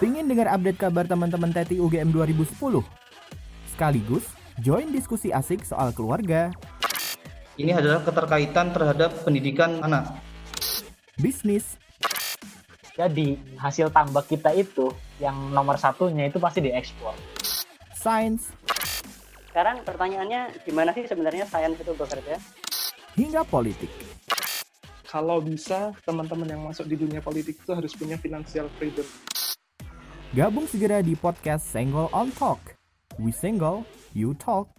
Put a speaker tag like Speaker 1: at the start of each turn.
Speaker 1: Pengen dengar update kabar teman-teman Teti UGM 2010? Sekaligus, join diskusi asik soal keluarga,
Speaker 2: Ini adalah keterkaitan terhadap pendidikan anak.
Speaker 1: bisnis,
Speaker 3: Jadi hasil tambak kita itu yang nomor satunya itu pasti diekspor.
Speaker 1: sains,
Speaker 4: Sekarang pertanyaannya gimana sih sebenarnya sains itu bekerja?
Speaker 1: hingga politik.
Speaker 5: Kalau bisa, teman-teman yang masuk di dunia politik itu harus punya financial freedom.
Speaker 1: Gabung segera di podcast Senggol on Talk. We single, you talk.